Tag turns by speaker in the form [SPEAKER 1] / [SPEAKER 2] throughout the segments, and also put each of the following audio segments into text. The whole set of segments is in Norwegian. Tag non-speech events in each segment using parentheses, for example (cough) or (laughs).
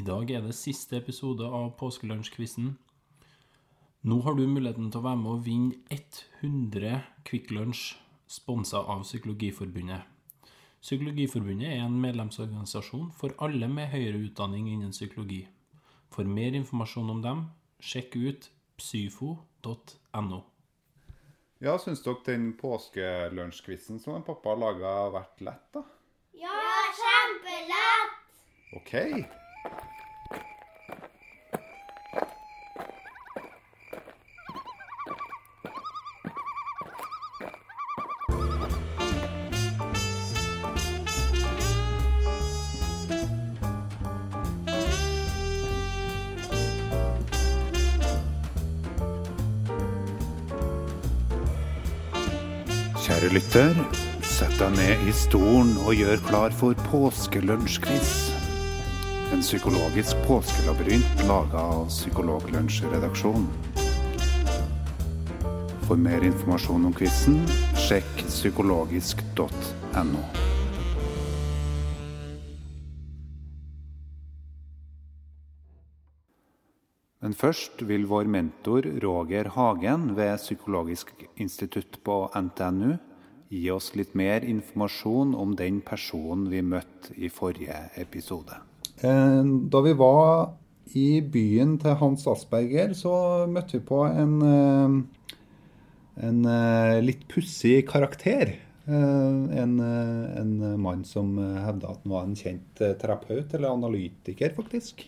[SPEAKER 1] I dag er det siste episode av påskelunsjquizen. Nå har du muligheten til å være med og vinne 100 Kvikk Lunsj sponsa av Psykologiforbundet. Psykologiforbundet er en medlemsorganisasjon for alle med høyere utdanning innen psykologi. For mer informasjon om dem, sjekk ut psyfo.no.
[SPEAKER 2] Ja, syns dere den påskelunsjquizen som en pappa laga, har vært lett, da?
[SPEAKER 3] Ja, kjempelett!
[SPEAKER 2] OK. Kjære lytter, sett deg ned i stolen og gjør klar for påskelunsjquiz. En psykologisk påskelabyrint laga av Psykologlunsjredaksjonen. For mer informasjon om quizen, sjekk psykologisk.no. Men først vil vår mentor Roger Hagen ved Psykologisk institutt på NTNU gi oss litt mer informasjon om den personen vi møtte i forrige episode. Eh, Da vi var i byen til Hans Asperger, så møtte vi på en, eh, en eh, litt pussig karakter. Eh, En, eh, en mann som hevda at han var en kjent eh, terapeut, eller analytiker, faktisk.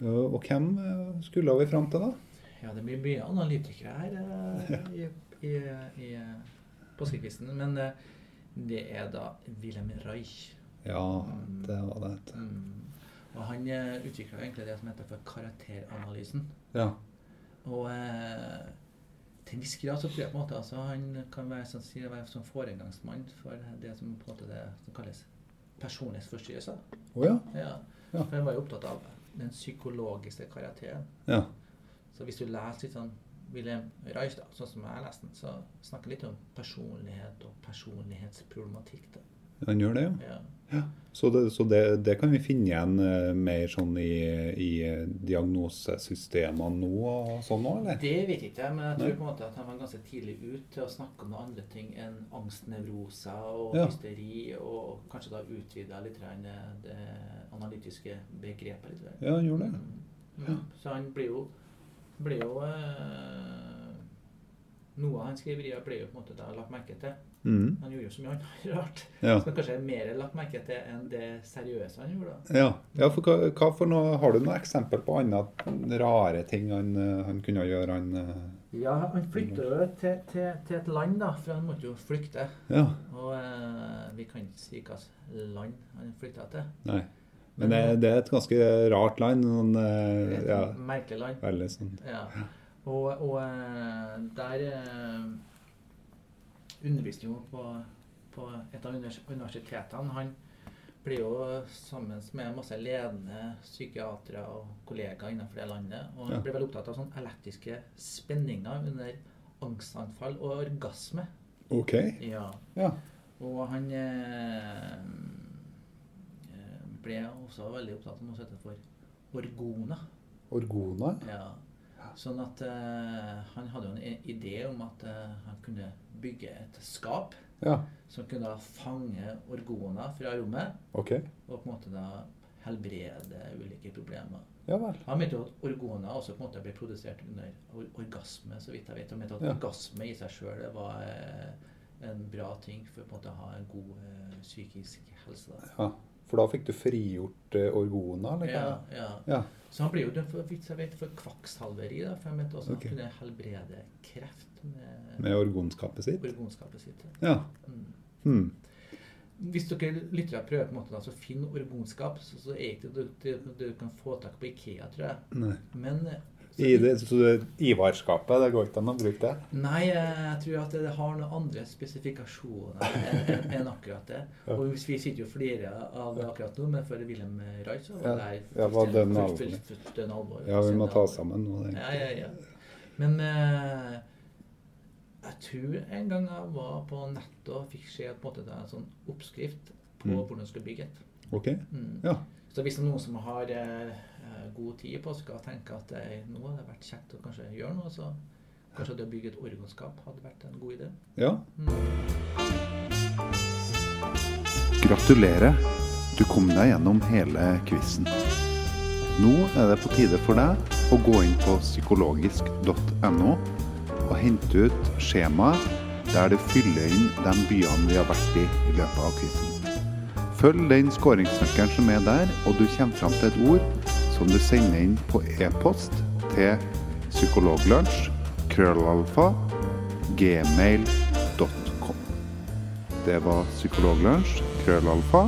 [SPEAKER 2] Ja, Og hvem eh, skulle vi fram til, da?
[SPEAKER 4] Ja, det blir mye analytikere her eh, i, i, i påskekvisten. Men eh, det er da Wilhelm Reich.
[SPEAKER 2] Ja, det var det. vet du.
[SPEAKER 4] Mm. Og han utvikla egentlig det som heter for karakteranalysen.
[SPEAKER 2] Ja.
[SPEAKER 4] Og eh, til en viss grad så tror jeg på en måte altså, han kan være, sånn, si, være sånn foregangsmann for det som på en måte det som kalles personlighetsforstyrrelser.
[SPEAKER 2] Å ja.
[SPEAKER 4] Ja.
[SPEAKER 2] Ja.
[SPEAKER 4] For han var jo opptatt av den psykologiske karakteren.
[SPEAKER 2] ja.
[SPEAKER 4] Så hvis du leser litt sånn Wilhelm Reich, da, sånn som jeg leste den, så snakker litt om personlighet og personlighetsproblematikk. da.
[SPEAKER 2] Han gjør det, ja.
[SPEAKER 4] Ja.
[SPEAKER 2] Så, det, så det, det kan vi finne igjen eh, mer sånn i, i diagnosesystemene nå og sånn òg, eller?
[SPEAKER 4] Det vet ikke jeg, men jeg tror på en måte at han var ganske tidlig ut til å snakke om andre ting enn angstnevroser og
[SPEAKER 2] Ja.
[SPEAKER 4] hysteri, og kanskje da utvida litt grann det analytiske begrepet litt. grann.
[SPEAKER 2] Ja, han gjorde det.
[SPEAKER 4] Mm. Så han blir jo, blir jo eh, Noe av hans skriverier ble jo på en måte da lagt merke til.
[SPEAKER 2] Mm.
[SPEAKER 4] Han gjorde jo så mye annet (laughs) rart.
[SPEAKER 2] Ja.
[SPEAKER 4] Som kanskje er mer lagt merke til enn det seriøse han gjorde. da.
[SPEAKER 2] Ja, ja for hva, hva for noe, Har du noe eksempel på andre rare ting han, eh, han kunne gjøre? Han, eh,
[SPEAKER 4] Ja, han flykta jo til, til, til et land, da, for han måtte jo flykte.
[SPEAKER 2] ja,
[SPEAKER 4] Og eh, vi kan ikke si hvilket land han flykta til.
[SPEAKER 2] nei. Men det, det er et ganske rart land. Sånn, eh,
[SPEAKER 4] Et
[SPEAKER 2] ja,
[SPEAKER 4] merkelig land.
[SPEAKER 2] veldig sånn.
[SPEAKER 4] Ja. Og, og eh, der eh, underviste jo på, på et av univers- universitetene. Han ble jo sammen med masse ledende psykiatere og kollegaer innenfor det landet. Og han
[SPEAKER 2] Ja.
[SPEAKER 4] ble veldig opptatt av sånne elektriske spenninger under angstanfall og orgasme.
[SPEAKER 2] OK.
[SPEAKER 4] Ja.
[SPEAKER 2] Ja.
[SPEAKER 4] Og han eh, eh, ble også veldig opptatt av noe som heter for orgona.
[SPEAKER 2] Orgona?
[SPEAKER 4] Ja. Sånn at eh, han hadde jo en i- idé om at eh, han kunne bygge et skap
[SPEAKER 2] Ja.
[SPEAKER 4] som kunne da fange orgona fra rommet,
[SPEAKER 2] OK.
[SPEAKER 4] og på en måte da helbrede ulike problemer.
[SPEAKER 2] Ja vel.
[SPEAKER 4] Han mente jo at orgona også på en måte ble produsert under or orgasme, så vidt jeg vet. Han mente at
[SPEAKER 2] Ja.
[SPEAKER 4] orgasme i seg sjøl var eh, en bra ting for på en måte å ha en god eh, psykisk helse. Da.
[SPEAKER 2] Ja. For da fikk du frigjort eh, orgona, eller?
[SPEAKER 4] Ja,
[SPEAKER 2] hva?
[SPEAKER 4] ja.
[SPEAKER 2] Ja.
[SPEAKER 4] Så han ble jo dømt for, vidt jeg vet, for kvakksalveri, da, for han mente også
[SPEAKER 2] Ok.
[SPEAKER 4] han kunne helbrede kreft med
[SPEAKER 2] Med orgonskapet sitt?
[SPEAKER 4] orgonskapet sitt.
[SPEAKER 2] Ja.
[SPEAKER 4] Mm.
[SPEAKER 2] Hmm.
[SPEAKER 4] Hvis dere lytter og prøver på en måte da, så finn orgonskap, så, så er ikke det det du kan få tak på Ikea, tror jeg.
[SPEAKER 2] Nei.
[SPEAKER 4] Men eh, så-
[SPEAKER 2] I det, så det Ivarskapet, det går ikke an å bruke det?
[SPEAKER 4] Nei, jeg tror at det har noen andre spesifikasjoner enn enn akkurat det. Og hvis vi sitter jo og flirer av det akkurat nå, men for Wilhelm Reich så var
[SPEAKER 2] Ja,
[SPEAKER 4] det
[SPEAKER 2] ja, var dønn
[SPEAKER 4] full-
[SPEAKER 2] alvorlig.
[SPEAKER 4] full- full- full- dønn alvor.
[SPEAKER 2] Ja, vi må ta oss sammen nå.
[SPEAKER 4] Ja,
[SPEAKER 2] Det.
[SPEAKER 4] ja, ja. Men eh, jeg tror en gang jeg var på nettet og fikk se på en måte det er en sånn oppskrift på
[SPEAKER 2] Mm.
[SPEAKER 4] hvordan du skal bygge et.
[SPEAKER 2] OK?
[SPEAKER 4] Mm.
[SPEAKER 2] Ja.
[SPEAKER 4] Så hvis det er noen som har eh, eh, god tid på skal tenke at eh, nå hadde det vært kjekt å kanskje gjøre noe, så kanskje det å bygge et orgonskap hadde vært en god idé.
[SPEAKER 2] Ja. Gratulerer. Du kom deg gjennom hele quizen. Nå er det på tide for deg å gå inn på psykologisk.no og hente ut skjemaet der du fyller inn de byene vi har vært i i løpet av quizen. Følg den skåringsnøkkelen som er der, og du kommer fram til et ord som du sender inn på e-post til psykologlunsj krøllalfa gmail.com. Det var psykologlunsj, krøllalfa,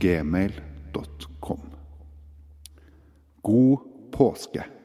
[SPEAKER 2] gmail.com. God påske!